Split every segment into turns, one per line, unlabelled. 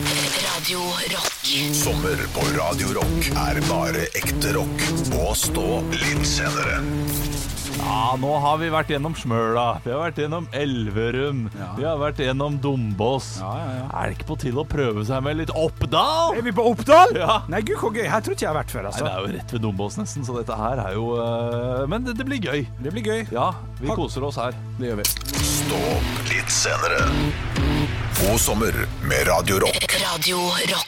Radio Rock.
Sommer på Radio Rock er bare ekte rock. Og stå litt senere.
Ja, nå har vi vært gjennom Smøla, vi har vært gjennom Elverum, vi har vært gjennom Dombås. Er det ikke på tide å prøve seg med litt Oppdal?
Er vi på Oppdal?
Ja.
Nei, gud, hvor gøy. Her tror ikke jeg har vært før,
Nei,
altså.
det er jo rett ved Dombås nesten, så dette her er jo eh, Men det, det blir gøy.
det blir gøy.
Ja, vi koser oss her. Det gjør vi.
Stå opp litt senere. God sommer med Radio Rock.
Radio Rock.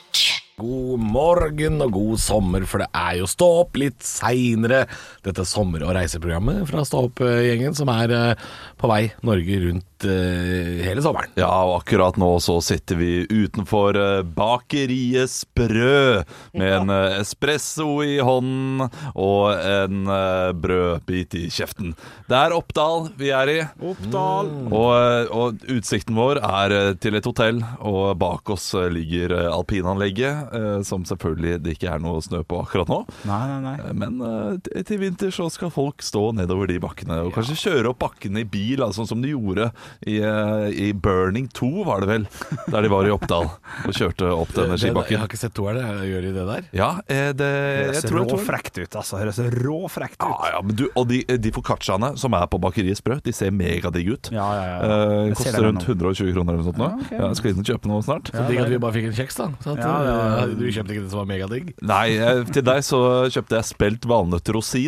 God morgen og god sommer, for det er jo Stå opp litt seinere. Dette sommer- og reiseprogrammet fra Stå opp-gjengen som er eh, på vei Norge rundt eh, hele sommeren.
Ja, og akkurat nå så sitter vi utenfor eh, bakeriet Sprø med en eh, espresso i hånden og en eh, brødbit i kjeften. Det er Oppdal vi er i.
Oppdal. Mm.
Og, eh, og utsikten vår er eh, til et hotell, og bak oss eh, ligger eh, alpinanlegget, eh, som selvfølgelig det ikke er noe snø på akkurat nå.
Nei, nei, nei.
Eh, Men eh, t- til vinter så skal folk stå nedover de bakkene, og kanskje kjøre opp bakkene i bil, da, sånn som de gjorde i, eh, i Burning 2, var det vel, der de var i Oppdal og kjørte opp denne
Jeg
skibakken.
har ikke sett toeren, jeg. gjør de det der?
Ja, eh, det,
Det
jeg
ser
tror jeg tror
råfrekt ut, altså. Det ser råfrekt ut.
Ja, ja, men du, og de, de focacciaene som er på bakeriet Sprø, de ser megadigge ut.
Ja, ja, ja.
Eh,
Jeg ser
koster
det
rundt
nå.
120 kroner eller noe sånt nå. Ja, jeg skal inn og kjøpe noe snart.
Så digg at vi bare fikk en kjeks, da. Sant?
Ja, ja, ja.
Eh, Du kjøpte ikke det som var megadigg?
Nei, eh, til deg så kjøpte jeg spelt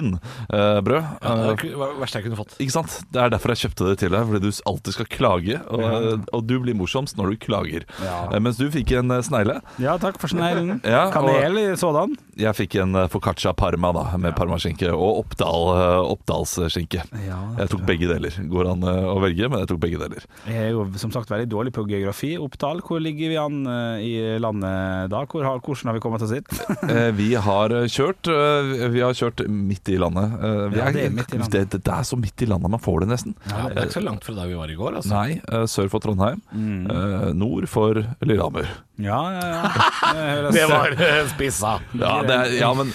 valnøtt-rosin-brød.
Ja, det var det verste jeg kunne fått.
Eh, Ikke sant? Det er derfor jeg kjøpte det til deg, fordi du alltid skal klage. Og, eh, og du blir morsomst når du klager. Eh, Mens du fikk en eh, snegle.
Ja, takk for sneglen.
Ja, og-
Kanel i sådan.
Jeg fikk en eh, focaccia parma da, med parmaskinke og Oppdal, eh, oppdalsskinke.
Ja,
jeg tok begge deler. Går an eh, å velge, men jeg tok begge deler.
Jeg er jo som sagt veldig dårlig på geografi. Oppdal, hvor ligger vi an eh, i landet da? Hvor har, hvordan har vi kommet oss hit?
Eh, Vi har eh, kjørt eh, Vi har kjørt midt i landet. Eh, Vi
Ja, det er midt i landet.
Det, det, det er så midt i landet man får det, nesten.
Ja, det er ikke så langt fra der vi var i går, altså.
Nei, eh, sør for Trondheim.
Mm.
eh, Nord for Lillehammer.
Ja, ja, ja. Det høres-
Det var eh, spissa.
Ja, det er, ja men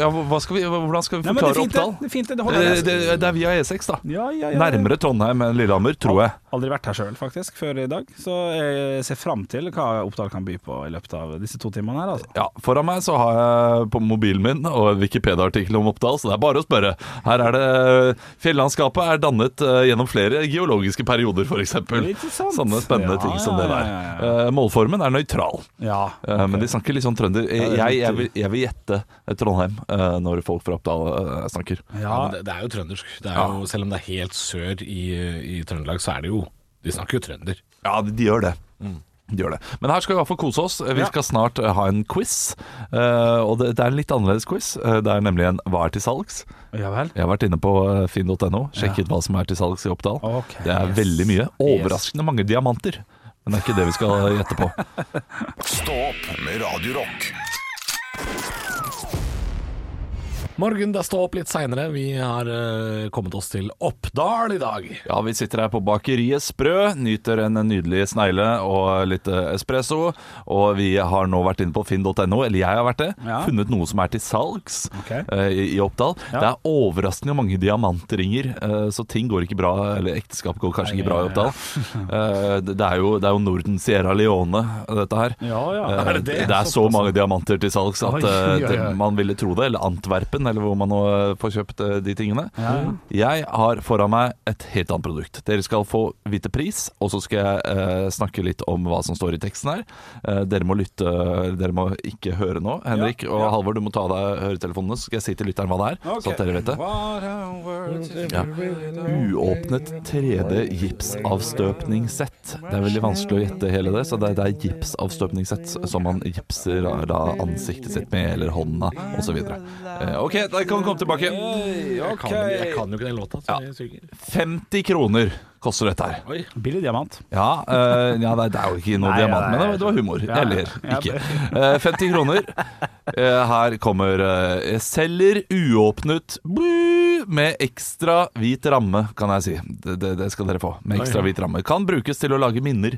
ja, hva skal vi, Hvordan skal vi
Nei, men det
forklare
er fint, det.
Oppdal?
Det er fint, det. Det holder.
Eh, Det, det er via E6, da.
Ja, ja, ja, ja.
Nærmere Trondheim enn Lillehammer, tror jeg.
Aldri vært her sjøl, faktisk, før i dag. Så jeg ser fram til hva Oppdal kan by på i løpet av disse to timene her, altså.
Ja, Foran meg så har jeg på mobilen min og en Wikipedia-artikkel om Oppdal, så det er bare å spørre. Her er det Fjellandskapet er dannet eh, gjennom flere geologiske perioder, f.eks.
Ikke sant?
Sånne spennende
Ja,
ting som det
ja,
der.
ja,
Eh, Målformen er nøytral,
Ja.
eh, men de snakker litt sånn trønder. Jeg, jeg, jeg, vil, jeg vil gjette Trondheim eh, når folk fra Oppdal eh, snakker.
ja.
Ja, men det, det er jo trøndersk. Det er jo, selv om det er helt sør i, eh, i Trøndelag, så er det jo De snakker jo trønder.
Ja, de, de gjør det.
Mm.
De gjør det. Men her skal vi i hvert fall kose oss. Vi skal snart eh, ha en quiz. Eh, og det, det er en litt annerledes quiz. Eh, det er nemlig en 'Hva er til salgs?'
ja vel.
Jeg har vært inne på eh, finn.no, sjekket hva som er til salgs i Oppdal.
Ok,
det er
yes.
veldig mye. Overraskende mange diamanter. Men det er ikke det vi skal gjette på.
Stå opp med Radio Rock.
Morgen, da stå opp litt seinere. Vi har eh, kommet oss til Oppdal i dag.
Ja, vi sitter her på bakeriet Sprø, nyter en nydelig snegle og litt eh, espresso. Og vi har nå vært inne på finn.no, eller jeg har vært det,
Ja.
funnet noe som er til salgs
Ok.
eh, i, i Oppdal. Det er overraskende mange diamantringer, eh, så ting går ikke bra, eller ekteskap går kanskje ikke bra i Oppdal. Eh, det, det, er jo, det er jo Norden Sierra Leone, dette her.
Ja, ja.
Eh,
Er det
det,
det? Sånn.
er så mange diamanter til salgs at
Oi,
eh,
oi, oi.
det- man ville tro det. Eller Antwerpen, eller hvor man nå eh, får kjøpt eh, de tingene.
ja.
Jeg har foran meg et helt annet produkt. Dere skal få vite pris, og så skal jeg eh, snakke litt om hva som står i teksten her. Eh, dere må lytte Dere må ikke høre nå. Henrik og Halvor, du må ta av deg høretelefonene, så skal jeg si til lytteren hva det er. Så at dere vet det.
What a world.
Ja. Uåpnet 3D-gipsavstøpningssett. Det er veldig vanskelig å gjette hele det, så det er, det er gipsavstøpningssett som man gipser da- da ansiktet sitt med, eller hånda, osv. Eh, OK, dere kan komme tilbake.
Jeg kan, jeg kan jo ikke den låta, så jeg synger.
50 kroner koster dette her.
Billig diamant.
Ja, eh, ja nei, det er jo ikke noe
Nei,
diamant,
nei,
men det var, det var humor.
ja.
Jeg ler
Ja.
ikke. Eh, 50 kroner. Eh, her kommer eh, 'Selger uåpnet bu, med ekstra hvit ramme', kan jeg si. Det, det, det skal dere få. Med ekstra hvit ramme. Kan brukes til å lage minner.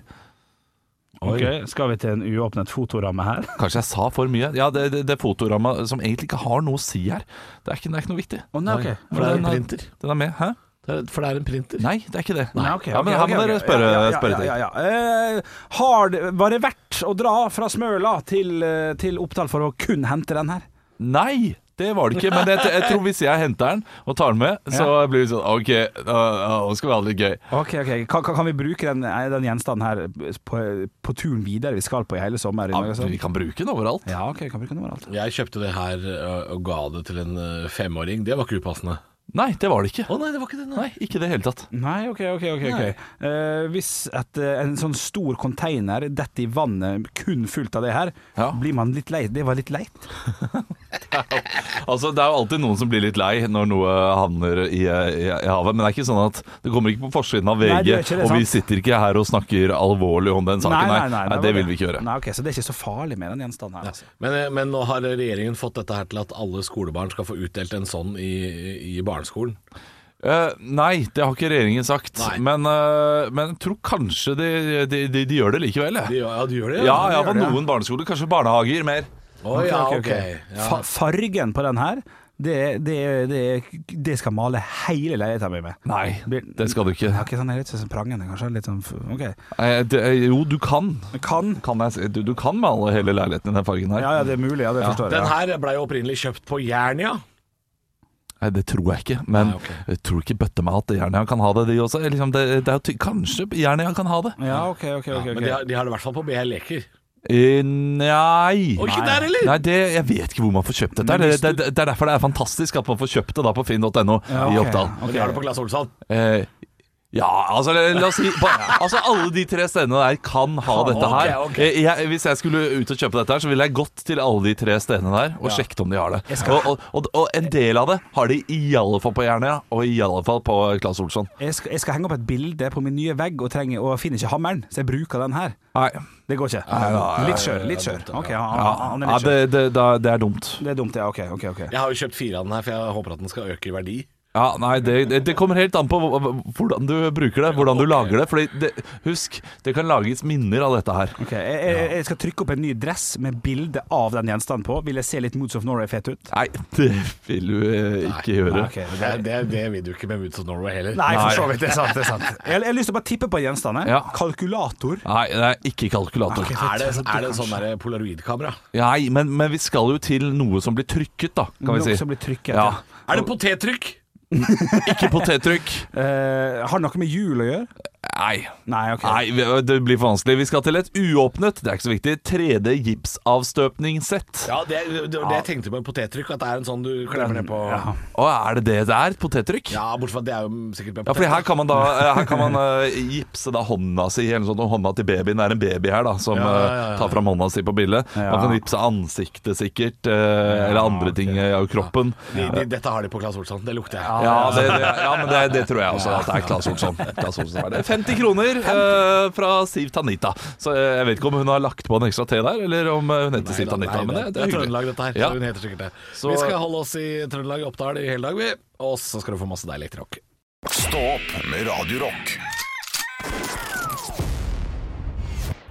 Ok, Skal vi til en uåpnet fotoramme her?
Kanskje jeg sa for mye. Ja, det, det, det er fotoramma som egentlig ikke har noe å si her. Det er ikke, det er ikke noe viktig.
Å, nei, ok.
For det er en
Den er-
printer.
Den er med. Hæ?
Det er- For det er en printer.
Nei, det er ikke det.
Nei, ok,
ja, men
ok,
her må
ok,
dere
ok.
spørre,
Ja, ja, ja,
spørre til.
ja, ja. Eh, har det, var det verdt å dra fra Smøla til, eh, til Oppdal for å kun hente den her.
Nei! Det var det ikke, men jeg, jeg tror hvis jeg henter den og tar den med, så blir det sånn OK, nå nå skal vi ha det litt gøy.
Ok, ok. Kan, kan kan vi bruke den, eh, den gjenstanden her eh, på, på turen videre vi skal på i hele sommer? i
Ja,
Norge,
men
sånn?
vi kan bruke den overalt.
Ja, ok, kan bruke den overalt.
Jeg kjøpte det her ø, og ga det til en ø, femåring. Det var ikke upassende.
Nei, det var det ikke.
Å nei, det var ikke det. Nei.
Nei, ikke i det hele tatt.
Nei, ok, ok. ok, ok. Eh, hvis et, eh, en sånn stor container detter i vannet kun fullt av det her,
Ja.
blir man litt lei. Det var litt leit.
Altså, Det er jo alltid noen som blir litt lei når noe havner i, i, i havet. Men det er ikke sånn at det kommer ikke på forsiden av VG,
Nei, det gjør ikke det,
og vi
sant?
sitter ikke her og snakker alvorlig om den saken. Nei, det vil vi ikke gjøre.
Nei, ok, Så det er ikke så farlig med den gjenstanden her. Altså.
Men, ø, men nå har regjeringen fått dette her til at alle skolebarn skal få utdelt en sånn i, i barneskolen.
Eh, nei, det har ikke regjeringen sagt.
Nei.
Men, eh, men jeg tror kanskje de, de, de, de gjør det likevel. jeg.
De, gjør- ja, de gjør det?
Ja, ja,
de
på
gjør det,
noen barneskoler. Kanskje barnehager mer.
Å ja,
Ok, ok,
ok.
ok.
Ja.
Fa fargen på den her, det, det, det, det skal male hele leiligheten min med.
Nei,
Blir-
det skal du ikke.
Ja, ikke sånn, det er litt sånn prangende, kanskje. Litt sånn, f- ok.
Eh, det, eh, jo, du kan.
Kan.
kan jeg, si- du, du kan male hele leiligheten i den fargen her.
Ja, ja, det er mulig. Ja, det forstår jeg.
Den
Ja.
her blei opprinnelig kjøpt på Jernia.
Nei, det tror jeg ikke. Men
Nei, ok.
jeg tror ikke bøtte meg at Jernia kan ha det, de også. Liksom, det, det er jo ty kanskje Jernia kan ha det.
Ja, ok, ok. ok, ok.
Men de har, de har det i hvert fall på BH Leker.
Eh, nei.
Og ikke der, eller?
Nei, det, Jeg vet ikke hvor man får kjøpt dette.
Men
Det,
hvis
det, det er derfor det er fantastisk at man får kjøpt det da på finn.no
Ja, ok.
i Oppdal.
Men
Ok.
de har det på Glass Olsson.
Eh, ja, altså la la oss si på, Altså Alle de tre stedene der kan ha dette her.
ok, ok.
Eh, Jeg, hvis jeg skulle ut og kjøpe dette, her så ville jeg gått til alle de tre stedene der og sjekket om de har det. Og, og, og, og en del av det har de i alle fall på Jernia, og i alle fall på Claes Olsson.
Jeg skal, jeg skal henge opp et bilde på min nye vegg og, trenger, og finner ikke hammeren, så jeg bruker den her.
Nei,
Det går ikke. litt skjør. litt skjør. Ok, han,
ja,
han- han er
ja,
litt
det,
skjør.
det, da- det er dumt.
Det er dumt, ja. Ok, ok. ok
Jeg har jo kjøpt fire av den her, for jeg håper at den skal øke i verdi.
Ja, nei, det, det- det kommer helt an på hva- hva- hvordan du bruker det, hvordan du lager det. Fordi det, husk, det kan lages minner av dette her.
Ok, jeg, jeg, jeg skal trykke opp en ny dress med bilde av den gjenstanden på. Vil jeg se litt Moods of Norway-fet ut?
Nei, det vil du eh, ikke gjøre.
Ok,
Det, det, det vil du ikke med Moods of Norway heller.
Nei, for så vidt. Det er sant. det er sant Jeg, jeg har lyst til å bare tippe på en gjenstand. jeg.
Ja.
Kalkulator.
Nei, det er ikke kalkulator.
Er det, er det sånn der polaroidkamera?
Nei, men, men vi skal jo til noe som blir trykket, da, kan vi
Noe
si.
som blir trykket,
ja.
ja.
Er det potettrykk?
Ikke potettrykk.
Eh, har det noe med jul å gjøre?
Nei.
Nei, ok.
Nei, vi- det blir for vanskelig. Vi skal til et uåpnet, det er ikke så viktig, 3D-gipsavstøpningssett.
Ja, det, det, det jeg tenkte på med potettrykk, at det er en sånn du klemmer ned på Ja,
Å, er det det det er? Potettrykk?
bortsett fra at det er jo sikkert med
Ja, for
potet.
her kan man da eh, Her kan man eh, gipse da hånda si, eller sånn, og hånda til babyen er en baby her, da, som
Ja, ja, ja,
eh, tar fram hånda si på bildet.
Ja.
Man kan gipse ansiktet, sikkert, eh, eller andre ting eh, av kroppen.
de, de, dette har de på Claes Olsson, det lukter jeg.
Ja, det, det, ja men det, det tror jeg også at det er Claes Olsson. Claes Olsson er det. 50 kroner eh, fra Siv Tanita. Så eh, jeg vet ikke om hun har lagt på en ekstra T der, eller om eh, hun heter Siv Tanita. men det, det er
Trøndelag, dette her.
Ja.
Hun heter sikkert det.
Så-
Vi skal holde oss i Trøndelag, Oppdal, i hele dag, vi. Og så skal du få masse deilig tråkk.
Stå opp med Radio Rock.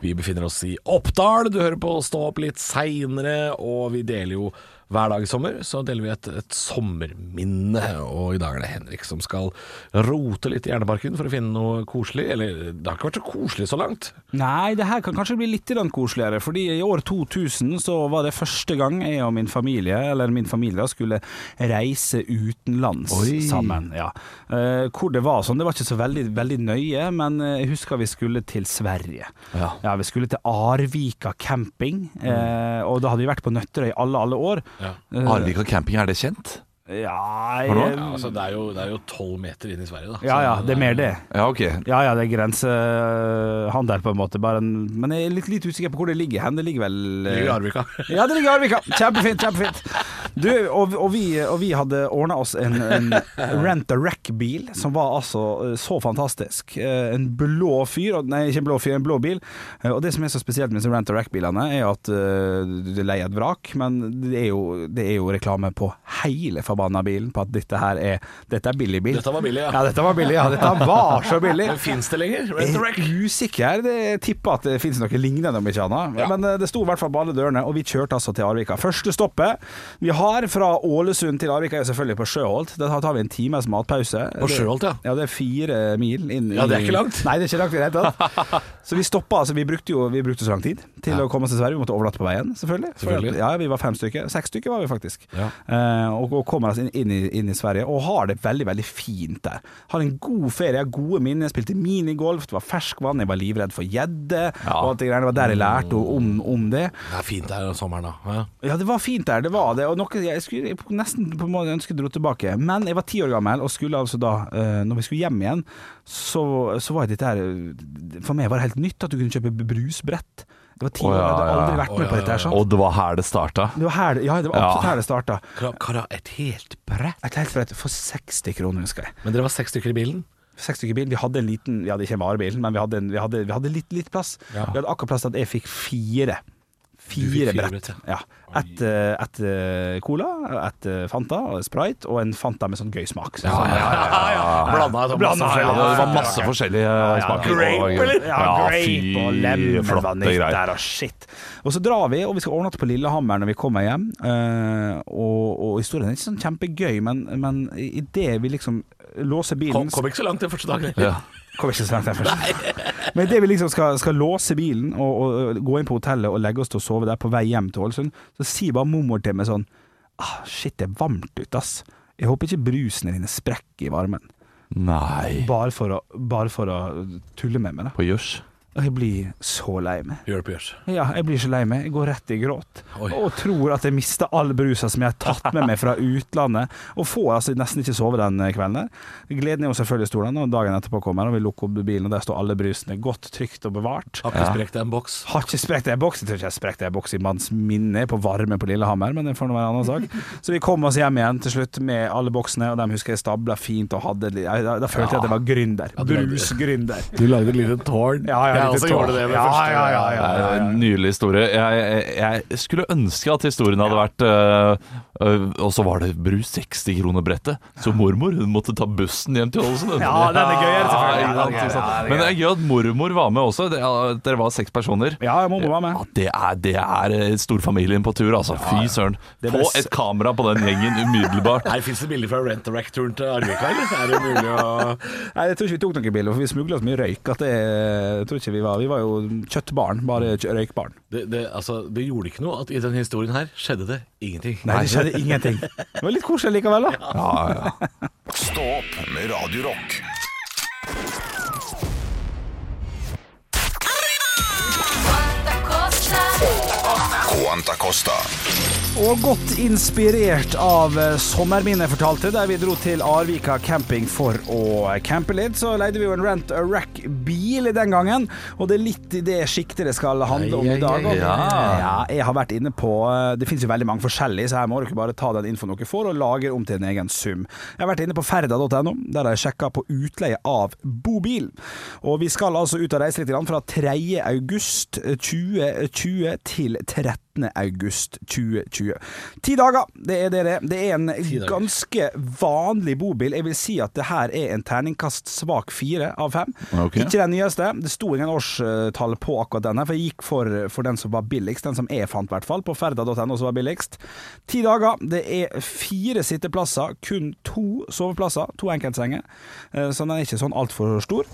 Vi befinner oss i Oppdal. Du hører på Stå opp litt seinere, og vi deler jo hver dag i sommer så deler vi et, et sommerminne. Og i dag er det Henrik som skal rote litt i hjernebarken for å finne noe koselig. Eller det har ikke vært så koselig så langt.
Nei, det her kan kanskje bli litt grann koseligere, fordi i år 2000 så var det første gang jeg og min familie, eller min familie, da, skulle reise utenlands sammen. Ja. Eh, hvor det var sånn, det var ikke så veldig, veldig nøye, men eh, jeg husker vi skulle til Sverige.
Ja.
vi skulle til Arvika camping, eh, og da hadde vi vært på Nøtterøy i alle, alle år.
Ja.
Eh,
Arvika camping, er det kjent?
Ja,
Har du?
jeg-
altså, det er jo det er jo tolv meter inn i Sverige, da.
ja, ja, det er mer det.
Ja, ok.
Ja, ja, det er grensehandel, på en måte. Bare en, men jeg er litt, litt usikker på hvor det ligger hen. Det ligger vel eh,
Det ligger i Arvika.
Ja, det ligger i Arvika. Kjempefint. kjempefint Du, og, og, vi, og vi hadde ordna oss en, en rent-a-rack-bil, som var altså eh, så fantastisk. Eh, En blå fyr, og- nei, ikke en blå fyr, en blå bil. Eh, Og det som er så spesielt med disse rent-a-rack-bilene, er jo at eh, du leier et vrak, men det er jo, det er jo reklame på hele forbanna bilen på at dette her er Dette er billig bil.
Dette var billig, ja.
Ja, Eh. dette var billig. Ja, dette var så billig.
Men fins det lenger? Rent a
Jeg
wreck.
er usikker. Det- Jeg tipper at det finnes noe lignende, om ikke annet. Men eh, det sto i hvert fall på alle dørene, og vi kjørte altså til Arvika. Første stoppet. Vi har Far fra Ålesund til Arvik er jo selvfølgelig på Sjøholt. Der tar vi en times matpause.
På Sjøholt, ja.
Ja, det er fire mil inn i
Ja, det er ikke langt.
Nei, det er ikke langt i det hele tatt. Så vi stoppa, altså vi brukte jo vi brukte så lang tid til
Ja.
å komme oss til Sverige. Vi måtte overnatte på veien, selvfølgelig. For
Selvfølgelig.
at- Ja, vi var fem stykker. Seks stykker var vi faktisk.
Ja.
Eh, og, og kommer oss inn, inn, i, inn i Sverige og har det veldig, veldig fint der. Har en god ferie, har gode minner. Spilte minigolf, det var ferskvann, jeg var livredd for gjedde.
Ja. Mm.
Og alt det greiene. Det var der jeg lærte om, om det.
Det er fint her om sommeren, da. Ja.
Ja, det var fint der, det var det. Og noe jeg skulle nesten på en måte ønske jeg dro tilbake. Men jeg var ti år gammel, og skulle altså da, eh, når vi skulle hjem igjen, så, så var dette her eh, For meg var det helt nytt at du kunne kjøpe brusbrett. Det var ti
Å,
år, jeg
ja,
hadde
ja,
aldri
ja.
vært med på dette her. sant?
Og det var her det starta.
Det var her, ja, det var absolutt
Ja.
her det starta.
Hva, hva da? Et helt brett?
Et helt brett for 60 kroner, husker jeg.
Men dere var seks stykker i bilen?
Seks stykker bil. Vi hadde en liten Vi hadde ikke en varebil, men vi hadde, en, vi hadde, vi hadde litt, litt plass.
Ja.
Vi hadde akkurat plass til at jeg fikk fire. Fire
fikk fire
brett.
brett,
Ja. Et, eh, et eh, cola, et eh, Fanta og Sprite, og en Fanta med sånn gøy smak. Sånn, sånn, ja, ja,
Blanda, det var
Blanda,
masse
Ja,
ja,
forskjellig.
det var masse forskjellige eh, smaker.
Grape, eller?
Ja, grape og lemon var nytt der, og shit. Og så drar vi, og vi skal overnatte på Lillehammer når vi kommer hjem. eh, og, og historien er ikke sånn kjempegøy, men, men idet vi liksom låser bilen
Kom, kom ikke så langt den første dagen.
Ja.
Kommer ikke så langt der først. Men idet vi liksom skal, skal låse bilen og, og, gå inn på hotellet og legge oss til å sove der på vei hjem til Ålesund, så sier bare mormor til meg sånn ah, Shit, det er varmt ute, ass. Jeg håper ikke brusene dine sprekker i varmen.
Nei.
Bare for å, bare for å tulle med meg, da.
På gjørs.
Og jeg blir så lei meg.
Gjør det på gjørs.
Ja, jeg blir så lei meg. Jeg går rett i gråt.
Oi.
Og tror at jeg mister all brusa som jeg har tatt med meg fra utlandet. Og får altså nesten ikke sove den kvelden der. Gleden er jo selvfølgelig stor da, når dagen etterpå kommer og vi lukker opp bilen, og der står alle brusene godt trygt og bevart.
Har ikke sprukket en boks.
Har ikke sprukket ei boks. Jeg tror ikke jeg sprekte ei boks i manns minne på varme på Lillehammer, men det får nå være en annen sak. Så vi kom oss hjem igjen til slutt med alle boksene, og dem husker jeg stabla fint og hadde li- Da, da følte jeg at jeg var gründer. Brusgründer.
Du lagde et lite tårn.
Ja, ja,
jeg
litt
også
tårn.
gjorde det med
Ja,
første.
ja, ja, ja.
Det er en Nydelig historie. Jeg, jeg, jeg skulle ønske at historien hadde vært øh, øh, Og så var det brus 60 kroner brettet. Så mormor hun måtte ta bussen hjem til Ålesund.
Ja, den er gøyere, selvfølgelig.
Ja, ikke sant, ikke sant. Men det er gøy at mormor var med også. Det, at dere var seks personer.
Ja, mormor var med.
Ja, det er, det er eh, storfamilien på tur, altså. Fy søren.
Det
Få
ble s-
et kamera på den gjengen umiddelbart.
Her fins det bilder fra Rent-A-Rack-turen til Arvika, eller? Er det mulig å
Nei, jeg tror ikke vi tok noen biler, for vi smugla så mye røyk at det, jeg tror ikke vi var Vi var jo kjøttbarn, bare kjø- røykbarn.
det, det, altså, det gjorde ikke noe at i denne historien her skjedde det ingenting.
Nei, det skjedde ingenting. Det var litt koselig likevel, da.
Ja, ja.
Stå opp med Radio Rock. Quanta Costa.
Og godt inspirert av eh, sommerminnet jeg fortalte, der vi dro til Arvika camping for å campe litt, så leide vi jo en Rent a Rack-bil den gangen, og det er litt i det sjiktet det skal handle om
Ai, ai,
i dag.
ai,
ai.
og- ja, jeg har vært inne på eh, Det finnes jo veldig mange forskjellige, så her må dere bare ta den infoen dere får, og lagre om til en egen sum. Jeg har vært inne på ferda.no, der har jeg sjekka på utleie av bobil. Og vi skal altså ut og reise litt grann fra 3. august 2020 til 13. august 2020. Ti dager, det er det det. er. Det er en
dager.
ganske vanlig bobil. Jeg vil si at det her er en terningkast svak fire av fem.
Ok.
Ikke den nyeste. Det sto ingen årstall på akkurat den her, for jeg gikk for, for den som var billigst. Den som jeg fant, i hvert fall. På ferda.no som var billigst. Ti dager. Det er fire sitteplasser, kun to soveplasser, to enkeltsenger. Eh, Så den er ikke sånn altfor stor.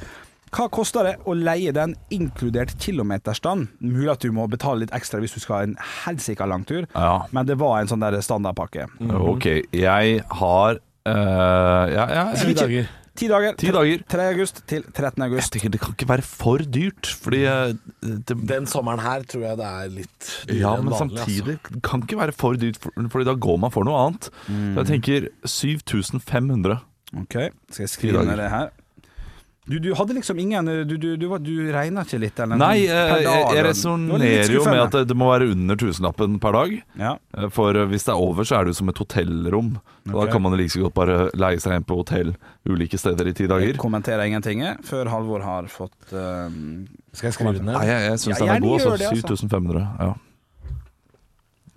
Hva koster det å leie den, inkludert kilometerstand? Mulig at du må betale litt ekstra hvis du skal ha en helsika lang tur,
Ja. Mm.
men det var en sånn der standardpakke.
Ok, jeg har eh, ja, ja,
Ti dager.
Ti dager.
Ti dager.
3. august til 13.
Jeg
august.
tenker det kan ikke være for dyrt, fordi eh, det,
Den sommeren her tror jeg det er litt dyrere
Ja,
enn
men
altså.
vanlig, altså.
samtidig det kan ikke være for dyrt, for, fordi da går man for noe annet. Så
Mm.
jeg tenker 7500.
Ok, skal jeg skrive
dager.
ned det her. Du, du hadde liksom ingen Du, du, du, var- du regna ikke litt? Eller,
Nei, eh,
Per
jeg, jeg
dag, eller- Du var litt
resonnerer jo med
skuffende.
at det, det må være under tusenlappen per dag.
ja.
Eh, For eh, hvis det er over, så er det jo som et hotellrom. Så
Ok.
Da kan man like så godt bare leie seg hjem på hotell ulike steder i ti
Jeg
dager.
kommenterer ingenting jeg, før Halvor har fått ehm,
Altså. Skal jeg skrive den
Nei,
ned?
jeg, jeg syns
Ja,
den
gjerne
er god.
gjør det,
Altså.
altså.
7500. Ja.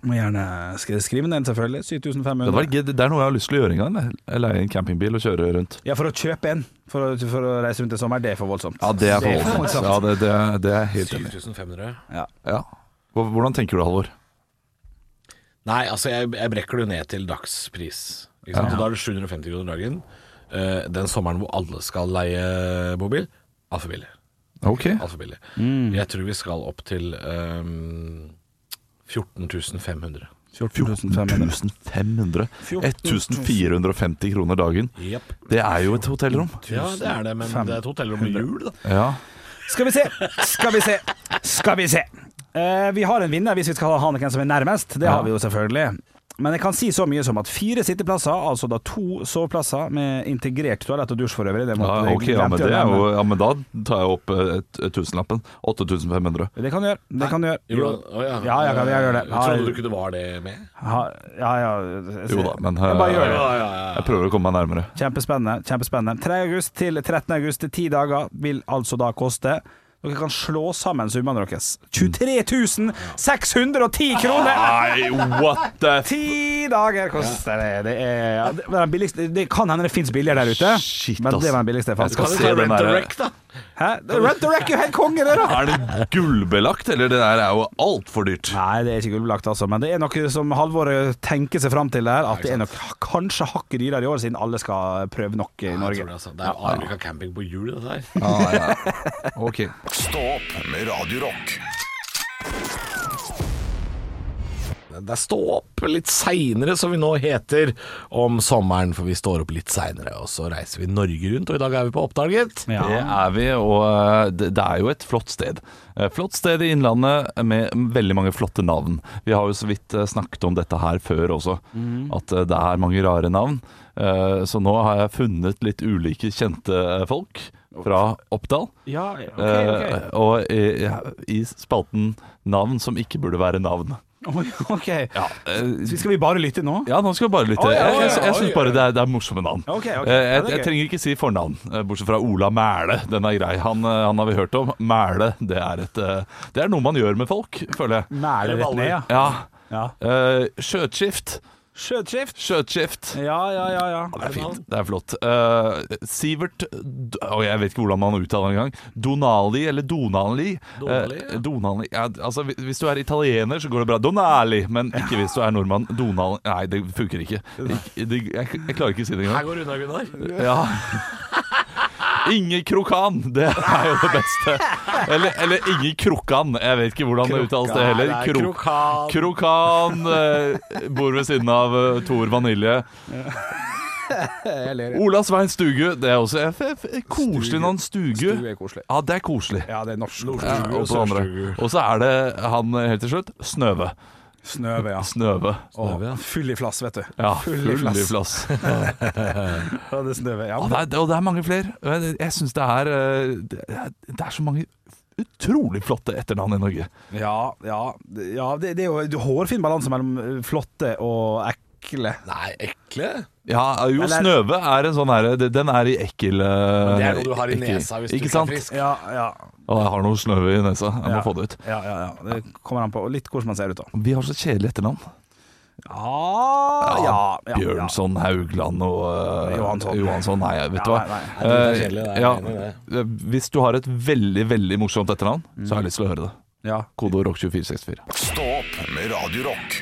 Må gjerne skri- skrive ned, selvfølgelig.
Det, hadde
7500.
vært gøy. det er noe jeg har lyst til å gjøre en gang. det. Jeg Leie en campingbil og kjøre rundt.
Ja, for å kjøpe en for å, for å reise rundt i sommer, det er for voldsomt.
Ja, det er
for
forholdsvis. Ja, det, det, er- det er jeg helt enig. i.
7500.
Ja. Hvordan tenker du, Halvor?
Nei, altså jeg, jeg brekker det ned til dagspris. Ikke sant? Og Da er det 750 kroner dagen. Eh, den sommeren hvor alle skal leie bobil, altfor billig.
Ok.
Alt for billig.
Mm.
Jeg tror vi skal opp til um, 14.500
14.500.
1500. 1450 kroner dagen.
Jepp.
Det er jo et hotellrom.
Ja, det er det, men det er et hotellrom med jul, da.
Ja.
Skal vi se, skal vi se, skal vi se. Eh, vi har en vinner hvis vi skal ha hvem som er nærmest. Det har vi jo selvfølgelig. Men jeg kan si så mye som at fire sitteplasser, altså da to soveplasser med integrert toalett og dusj for øvrig. Det, måtte
Ja,
jeg
ok, ja, men,
glemte å
det er jo,
nevne.
ja, men da tar jeg opp eh, et- et tusenlappen. 8500.
det kan du gjøre. Det kan du gjøre.
Jo, å ja.
Ja, jeg kan- jeg gjør det.
Jeg trodde du ikke det var det med?
Ha, ja, ja. jeg ser-
Jo da, men
Jeg bare gjør det.
eh,
ja, ja.
jeg prøver å komme meg nærmere.
Kjempespennende. kjempespennende 3. august til 13. august, ti dager, vil altså da koste Dere kan slå sammen summene deres.
Mm.
23 610 kroner!
Nei, what the f...
Ti dager koster det. Det, er, ja, det, var den billigste, det kan hende det fins billigere der ute,
Shit,
men
ass.
det var den billigste jeg fant.
Jeg skal
Kan
se
vi ta
den
Rent a
der-
Wreck, da?
Hæ? Rent the Wreck er jo helt konge, det, da!
Er det gullbelagt, eller det der er jo altfor dyrt?
Nei, det er ikke gullbelagt, altså. Men det er noe som Halvor tenker seg fram til der, at det er nok kanskje hakket dyrere i år, siden alle skal prøve nok i
Jeg
Norge.
tror det, altså. Det er jo Arvika camping på jul, dette her.
Ok.
Stå opp med Radio Rock.
Det er stå opp litt seinere, som vi nå heter, om sommeren. For vi står opp litt seinere, og så reiser vi Norge rundt, og i dag er vi på Oppdal, gitt.
Ja.
Det er vi, og eh, det det er jo et flott sted. Eh, Flott sted i Innlandet med veldig mange flotte navn. Vi har jo så vidt eh, snakket om dette her før også,
Mhm.
at eh, det er mange rare navn. Eh, Så nå har jeg funnet litt ulike kjente eh, folk fra Oppdal.
Ja, ok, ok.
Eh, Og i, i spalten 'Navn som ikke burde være navn'.
Oi, ok.
eh,
Så skal vi bare lytte nå?
Ja, nå skal vi bare lytte.
Oi, oi, oi,
Jeg, jeg, jeg
oi,
syns bare det er, det er morsomme navn.
Ok,
Eh, Jeg,
ok. Ja, det er
jeg
gøy.
trenger ikke si fornavn, eh, bortsett fra Ola Mæle. Den er grei. Han, eh, han har vi hørt om. Mæle, det er, et, eh, det er noe man gjør med folk, føler jeg.
Mæle rett ned, ja.
Ja.
ja.
Eh, Skjøtskift.
Skjøtskift.
Skjøtskift.
Ja, ja, ja. ja.
Det er fint. Det er flott. Eh, Sivert D- Å, Jeg vet ikke hvordan man uttaler det engang. Donali eller Donali.
Donali,
Eh,
ja.
Donali. Ja, altså, hvis- hvis du er italiener, så går det bra. Donali. Men ikke hvis du er nordmann. Donali Nei, det funker ikke. Jeg, det- jeg, jeg klarer ikke å si det engang.
Her går unna, Gunnar.
Ja. Inge Krokan, det er jo det beste. Eller, eller Inge Krokan, jeg vet ikke hvordan det uttales det heller.
Nei,
Krok-
Krokan.
Krokan eh, bor ved siden av eh, Thor Vanilje. Ola Svein Stugu, det er også jeg, jeg, jeg, koselig navn. Stugu.
Stugu er koselig.
Ja, det er koselig.
Ja, det er norsk.
Ja,
Stugu og
og, så andre.
Sørstugu.
og så er det han eh, helt til slutt, Snøve.
Snøve, ja.
Snøve.
Å, Full i flass, vet du.
Ja,
full i flass.
flass.
Ja, det er snøve, ja.
Og det, er, og det er mange flere. Men Jeg syns det er eh, det er- Det er så mange utrolig flotte etternavn i Norge.
ja, ja, ja det, det er jo hårfin balanse mellom eh, flotte og ekle.
Nei, ekle.
Ja, jo,
Eller-
Snøve er en sånn her det- Den er i ekkel eh,
Det er noe du har i
ekkel-
nesa hvis du
ikke
ikke
sant?
er frisk.
Ja, ja.
Å, jeg har noe snøve i nesa. Jeg må
Ja.
få det ut.
Ja, ja, ja. Det kommer an på litt hvordan man ser ut, da.
Vi har så kjedelig etternavn.
Ja, ja, ja, ja.
Bjørnson, Haugland og eh,
Johansson.
Nei, vet du
Ja,
hva.
nei,
nei. Nei, det er
Eh,
kjedelig, det er
ja,
enig i
eh, hvis du har et veldig, veldig morsomt etternavn, så har jeg lyst til å høre det.
Mm. ja.
Kode rock 2464.
Stå opp med Radio Rock.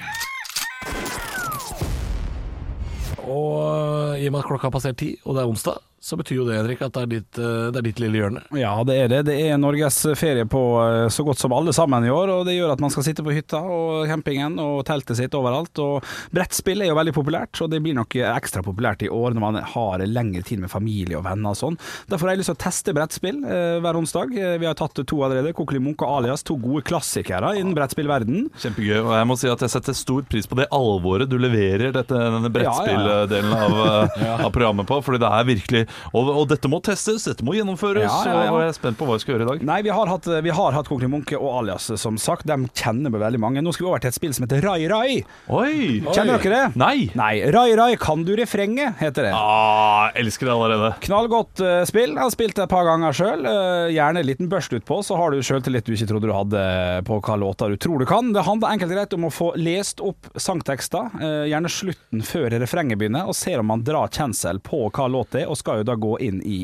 Og eh, i og med at klokka har passert ti, og det er onsdag, så betyr jo det, Henrik, at det er ditt, eh, det er ditt lille hjørne.
Ja, det er det. Det er Norges ferie på eh, så godt som alle sammen i år, og det gjør at man skal sitte på hytta og campingen og teltet sitt overalt. Og brettspill er jo veldig populært, og det blir nok ekstra populært i år når man har lengre tid med familie og venner og sånn. Derfor har jeg lyst til å teste brettspill eh, hver onsdag. Eh, Vi har tatt to allerede, Kokelimunk og Alias, to gode klassikere innen brettspillverden.
Kjempegøy. Og jeg må si at jeg setter stor pris på det alvoret du leverer dette, denne
Ja,
brettspilldelen av, eh, av programmet på, fordi det er virkelig og, og dette må testes, dette må gjennomføres,
Ja, ja, ja.
og jeg er spent på hva vi skal gjøre i dag.
Nei, vi har hatt, eh, vi har hatt Kokkeli Munke og Alias, eh, som sagt. De kjenner vi veldig mange. Nå skal vi over til et spill som heter Rai Rai.
Oi!
Kjenner dere det?
Nei!
Nei. Rai Rai, kan du refrenget, heter det.
Ah, jeg elsker det allerede.
Knallgodt eh, spill. Jeg har spilt det et par ganger sjøl. gjerne en liten børst utpå, så har du sjøltillit du ikke trodde du hadde eh, på hva låter du tror du kan. Det handler enkelt og greit om å få lest opp sangtekster, eh, gjerne slutten før refrenget begynner, og ser om man drar kjensel på hva låt det er, og skal jo da gå inn i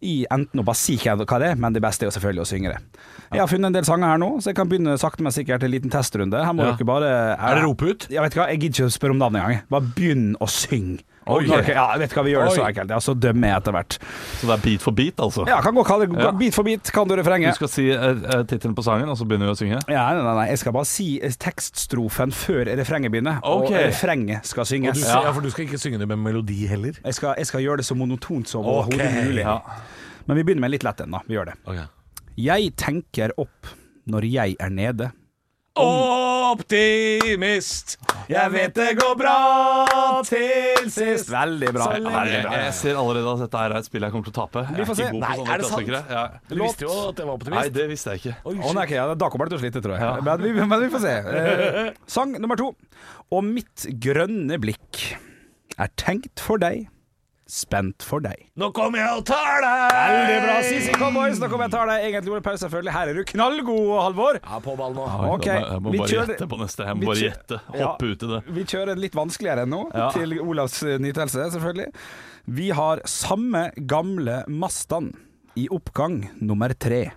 i enten å bare si hva hva det er, men det beste er jo selvfølgelig å synge det. Jeg har funnet en del sanger her nå, så jeg kan begynne sakte, men sikkert en liten testrunde. Her må
Ja.
dere bare
Er det rope ut?
Jeg vet ikke hva, jeg gidder ikke å spørre om navnet engang. Bare begynn å synge.
Oi.
Når dere- Ja, vet du hva, vi gjør det så
Oi.
enkelt. Ja, så dømmer jeg etter hvert.
Så det er beat for beat, altså?
Ja, kan gå, kan, gå-
Ja.
Bit for bit kan du refrenget.
Du skal si uh, tittelen på sangen, og så begynner vi å synge?
Ja, nei, nei, nei, jeg skal bare si tekststrofen før refrenget begynner,
Ok.
og refrenget skal
Og
synges.
du, ja. for du skal ikke synge det med melodi heller?
Jeg, skal, jeg skal gjøre det så monotont som
Ok,
overhodet mulig.
ja.
Men vi begynner med en litt lett en, da. Vi gjør det. Jeg tenker opp når jeg er nede.
Optimist, jeg vet det går bra til sist.
Veldig bra.
Så lenge-
Veldig bra.
Jeg ser allerede at dette er et spill jeg kommer til å tape. Jeg
Vi får
ikke god
se.
på
Nei,
sånne
er det sant?
klassikere. Ja.
Du visste jo at jeg var
Nei,
optimist.
det visste jeg ikke.
Å, nei, ok, ja, da kommer det til å slite, tror jeg. Men, vi, men vi får se. Eh, sang nummer to. Og mitt grønne blikk er tenkt for deg, spent for deg.
Nå kommer jeg og tar deg!
Veldig bra, Sisi Cowboys. Nå kommer jeg ta deg. Egentlig ordet pause, selvfølgelig. Her er du knallgod, Halvor.
Ja, på ball nå.
Ok,
Jeg må
vi
bare
kjører-
gjette på neste. Jeg
vi
må bare
kjører-
gjette.
Ja.
Hoppe ut i det.
Vi kjører en litt vanskeligere enn nå,
Ja.
til Olavs eh, nytelse, selvfølgelig. Vi har samme gamle Mastan i oppgang nummer tre.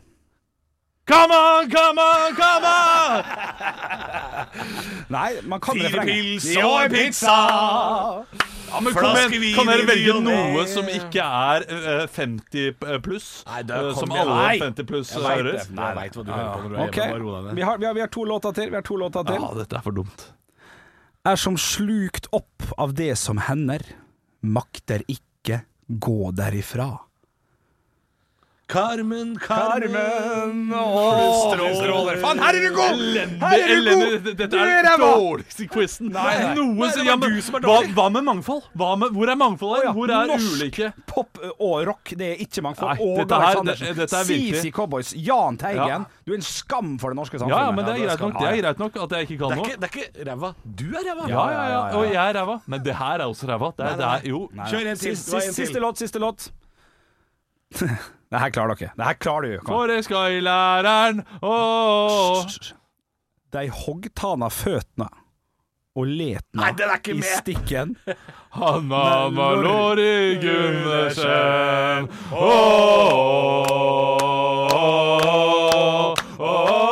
Come on, come on, come on!
Nei, man kan
Fire
refrenget.
pils og en pizza.
Ja, men kom
Flaske
igjen,
vin
kan dere
i ny
velge
og ne?
noe som ikke er eh, 50 pluss?
Nei, da
Eh, som
kom igjen.
alle
Nei.
50 pluss
Jeg vet det,
hører?
for jeg vet hva du hører på når du er
Ok,
hjemme. Bare ro deg
vi
ned.
har, vi, har, vi har to låter til. Vi har to låter til.
Ja, dette er for dumt.
Er som slukt opp av det som hender, makter ikke gå derifra.
Carmen, Carmen.
Stråler. Faen, her er du god!
Her er du god!
Dette
Du
er
er
den
ræva!
dårligste quizen.
nei.
Noe som,
det var
ja, men,
du som er
hva,
dårlig.
hva med mangfold? Hva med, hvor er mangfoldet?
Å ja,
Hvor er
norsk.
ulike?
Pop og rock, det er ikke mangfold.
Nei,
Og
dette her-
Aleksandersen.
det- dette er virkelig-
CC Cowboys, Jan Teigen.
Ja.
Du er en skam for det norske samfunnet.
Ja, ja, men det er
det
greit
skal
nok, det er greit nok at jeg ikke
Det
kan
er
noe.
ikke, det er ikke ræva. Du er ræva.
Ja, ja, ja.
ja, ja.
Og jeg er ræva. Men det her er også ræva. Det er, det er jo
Kjør en til.
Siste,
det var en
siste, siste
til.
låt, siste låt. det her klarer dere. Det her klarer du. Karl.
For jeg skal i læreren Åh
De hoggtana føtna og letna
Nei, den er
i
ikke med.
stikken.
Hanna Malori Gundersen Åh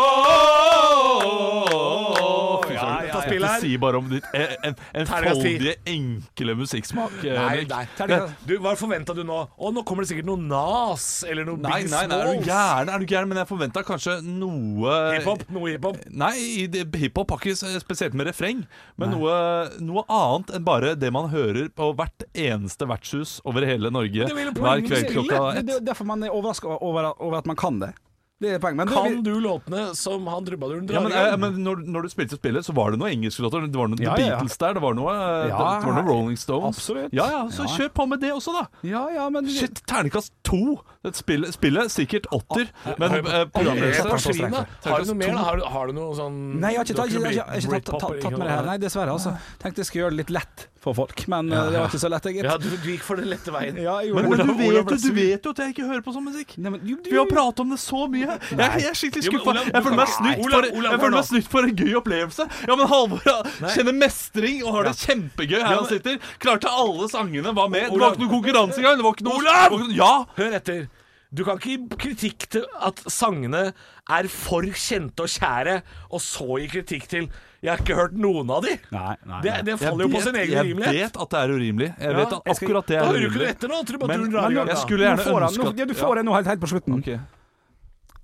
Ja, ja, ja.
Dette sier bare om ditt eh, en,
Terningkast ti.
enfoldige, enkle musikksmak. eh,
Nei,
Henrik.
nei.
Terningkast-
Du, hva forventa du nå? Å, nå kommer det sikkert noe Nas eller noe
Nei,
Big
nei, nei, er du
Smalls.
gæren? Er du gæren? Men jeg forventa kanskje noe
Hiphop, noe hiphop.
Nei, i det- hiphop har ikke s- spesielt med refreng, men noe, noe annet enn bare det man hører på hvert eneste vertshus over hele Norge
er vel
hver
poenget
kveld
med
klokka
Det, det
ett.
er derfor man er overraska over, over at man kan det. Det er poenget. Men det-
Kan du låtene som han Trubaduren
Ja,
drar
men, eh, men når, når du spilte spillet, så var det noen engelske låter. Det var noen
Ja,
The
ja, ja.
Beatles der, det var noe, eh,
Ja,
det var noe Rolling Stones.
absolutt.
Ja, ja, Så
Ja.
kjør på med det også, da.
Ja, ja, men
Shit, terningkast to. Det Spillet, spillet sikkert åtter, men eh,
Programledelse.
Helt
programledelse
forsvinner.
Har du noe mer? da? Har, du- har du noe sånn
Nei, jeg har ikke,
Du
tatt, jeg, har ikke- jeg
mye
har ikke tatt,
Britpop
tatt, tatt,
eller
tatt med det
noe
her. Nei, dessverre. altså Tenkte jeg skulle gjøre det litt lett for folk, men eh, det var ikke så lett, jeg, gitt.
Ja, du, du gikk for den lette veien.
Ja, jeg gjorde
Men, men
det.
du,
Olav- Olav
vet, jo-
ble
du
sur.
vet jo at jeg ikke hører på sånn musikk.
Nei, men, du-
Vi har pratet om det så mye. Jeg, jeg er skikkelig
Jo, men
skuffa.
Olav,
Jeg føler meg
Olav,
snytt
Olav,
for,
Olav,
jeg føler
hør
meg
nå.
snytt for en gøy opplevelse. Ja, men Halvor ja, kjenner mestring og har det kjempegøy her han sitter. Klarte alle sangene, var med. Det var
Olav.
ikke noe konkurranse engang. Det var ikke noe Olav! Ja!
Hør etter. Du kan ikke gi kritikk til at sangene er for kjente og kjære, og så gi kritikk til 'jeg har ikke hørt noen av de'.
Nei, nei,
Det,
nei.
det faller jo på sin egen
jeg
rimelighet.
vet at det er urimelig. Jeg vet at
jeg skal-
akkurat det
Da
er
hører du ikke noe
urimelig.
etter nå,
Men,
Trubaturen drar i
men jeg
gang. da.
skulle
Nå
gjerne
får han,
ønske
nå,
at
ja, du får det nå helt, helt på slutten.
Ok.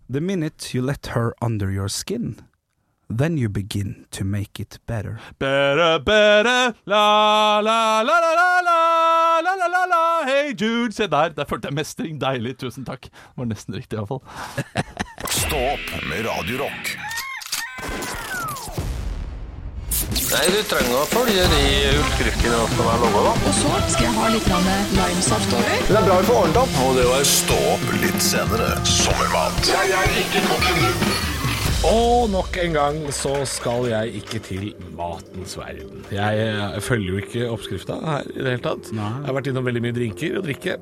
The minute you let her under your skin, then you begin to make it better.
Better, better, la, la, la, la, la, la, la, la, la, la, hey Jude. Se der, der følte jeg mestring. Deilig, tusen takk. Det var nesten riktig, iallfall.
Stå opp med Radio Rock.
Nei, du trenger å følge de utskriftene som jeg lover, da.
Og så skal jeg ha litt grann limesaft over.
Stå opp litt senere. Sommermat
Og nok en gang så skal jeg ikke til matens verden. Jeg eh, følger jo ikke oppskrifta her i det hele tatt. Jeg har vært innom veldig mye drinker og drikke.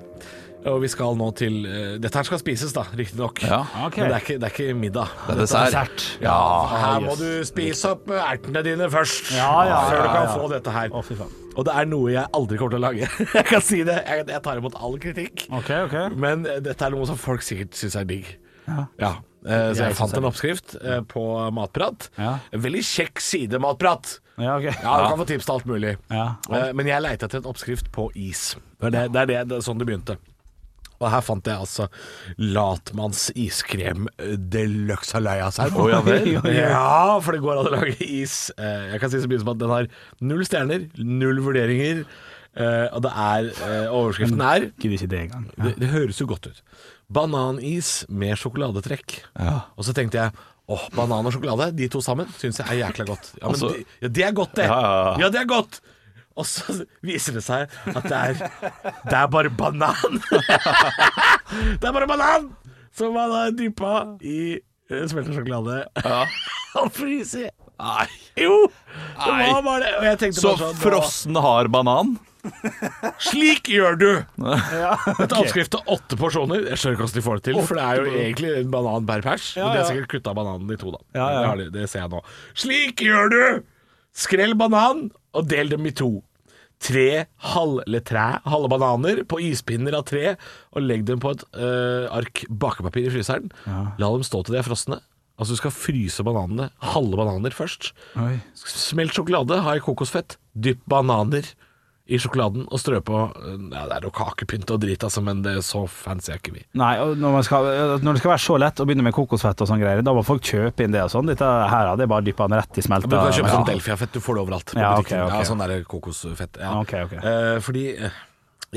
Og vi skal nå til eh, Dette her skal spises, da, riktignok.
Ja.
Ok.
Men det er, ikke, det er ikke middag.
Det er dessert.
Dessert.
Ja.
Her må du spise opp ertene dine først,
Ah, Ja, ja,
før du
ja,
kan
ja.
få dette her.
Å, fy faen.
Og det er noe jeg aldri kommer til å lage. Jeg kan si det. Jeg, jeg tar imot all kritikk.
Ok, ok.
Men eh, dette er noe som folk sikkert syns er digg.
Ja.
Eh, Så jeg,
Jeg synes
fant
det.
en oppskrift eh, på Matprat.
Ja.
En Veldig kjekk side Matprat.
Ja, ok.
Ja, du kan få tips til alt mulig.
Ja.
Eh, Men jeg leita etter en oppskrift på is. Det er, det, det er det, det er sånn det begynte. Og her fant jeg altså latmanns iskrem altså. eh, de luxe alayasaur.
Å, ja vel.
Ja, for det går an å lage is. Eh, Jeg kan si så mye som at den har null stjerner, null vurderinger. eh, Og det er eh, Overskriften er
Gidder ikke det engang.
det, det høres jo godt ut. Bananis med sjokoladetrekk. Og så tenkte jeg åh, banan og sjokolade, de to sammen, syns jeg er jækla godt. Ja, men
Altså-
de, ja, det er godt, det.
Ja, ja, ja.
det er godt. Og så viser det seg at det er, det er bare banan. det er bare banan som man har dyppa i eh, smeltet sjokolade. og fryser.
Nei.
Jo! Det
Nei.
var bare det. Og jeg tenkte
Så
bare sånn, nå-
frossen har banan?
Slik gjør du! Dette er oppskrift til åtte porsjoner. Jeg skjønner ikke hvordan de får det til, for det er jo egentlig en banan per pers. Men de har sikkert kutta bananen i to, da.
ja.
Det, har de, det ser jeg nå. Slik gjør du! Skrell banan og del dem i to. Tre halv, eller træ, halve bananer på ispinner av tre, og legg dem på et øh, ark bakepapir i fryseren. La dem stå til de er frosne. Altså Du skal fryse bananene, halve bananer først.
Oi.
Smelt sjokolade, ha i kokosfett, dypp bananer i sjokoladen og strø på ja, Det er noe kakepynt og drit, altså, men det er så fancy er ikke vi.
Nei, og når, man skal, når det skal være så lett å begynne med kokosfett og sånn greier, da må folk kjøpe inn det og sånn. Dette her hadde jeg bare dyppa den rett i smelta.
Du kan kjøpe sånn
Ja.
Delfia-fett, du får det overalt. på
Ja, ok,
butikken.
ok.
ja, Sånn der kokosfett. Ja.
Ok, ok.
Eh, fordi eh,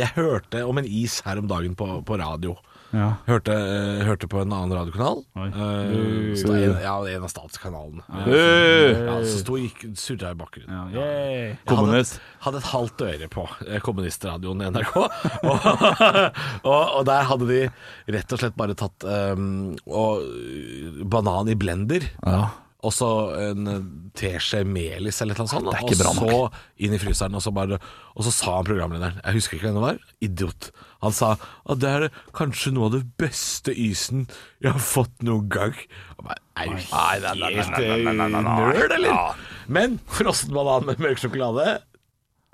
jeg hørte om en is her om dagen på, på radio.
Ja.
Hørte, eh, hørte på en annen radiokanal. Eh, så det er en, ja, en av statskanalene.
Øh,
Ja, så sto gikk surra i bakgrunnen.
Yay.
Kommunist.
Hadde, hadde et halvt øre på eh, kommunistradioen i NRK. og, og, og der hadde de rett og slett bare tatt ehm, og, øh, banan i blender.
Ja.
Og så en eh, teskje melis eller noe sånt.
Det er ikke bra
og så inn i fryseren, og så, bare, og så sa programlederen Jeg husker ikke hvem det var. Idiot. Han sa at det er kanskje noe av det beste isen jeg har fått noen gang. Jeg bare, Er du helt eh, nerd, eller? Men frossen banan med mørk sjokolade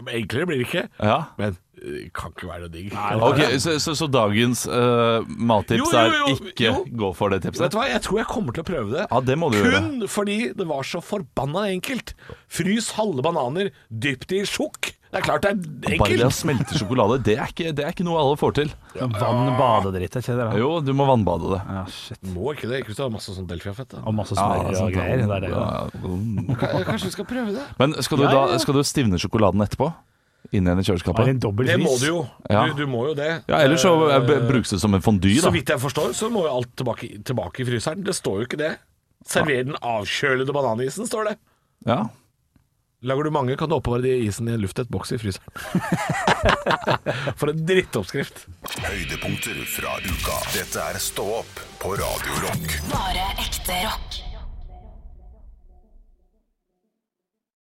Enklere blir det ikke.
Ja.
Men eh, kan ikke være noe digg.
Ok, Så, så, så dagens eh, mattips
Jo, jo, jo,
er ikke
jo.
gå for det tipset?
Vet du hva, jeg tror jeg kommer til å prøve det.
Ja, det må du
Kun
gjøre.
fordi det var så forbanna enkelt. Frys halve bananer dypt i sjokk. Det er klart det er
Bare det å
enkelt.
smelte sjokolade, det er ikke, det er ikke noe alle får til.
Ah.
Vann, bade og dritt, er ikke det? da?
Jo, du må vannbade det.
Ja, shit.
Må ikke det, ikke hvis du har masse sånn delfiafett. da.
Og masse smør
det er sant,
og greier. Det er det,
ja.
da.
Mm.
K- Kanskje vi skal prøve det?
Men skal du, da, skal du stivne sjokoladen etterpå? Inn igjen i
Bare
kjøleskapet?
en dobbel
Det
frys.
må du jo.
Ja.
Du, du må jo det.
Ja, Ellers så eh, b-
Eh,
brukes det som en fondy,
Så
da.
vidt jeg forstår, så må jo alt tilbake, tilbake i fryseren. Det står jo ikke det. Server den avkjølede bananisen, står det.
Ja.
Lager du mange, kan du oppbevare de isen i en lufttett boks i fryseren. For en drittoppskrift.
Høydepunkter fra uka. Dette er Stå opp på Radio Rock.
Bare ekte rock.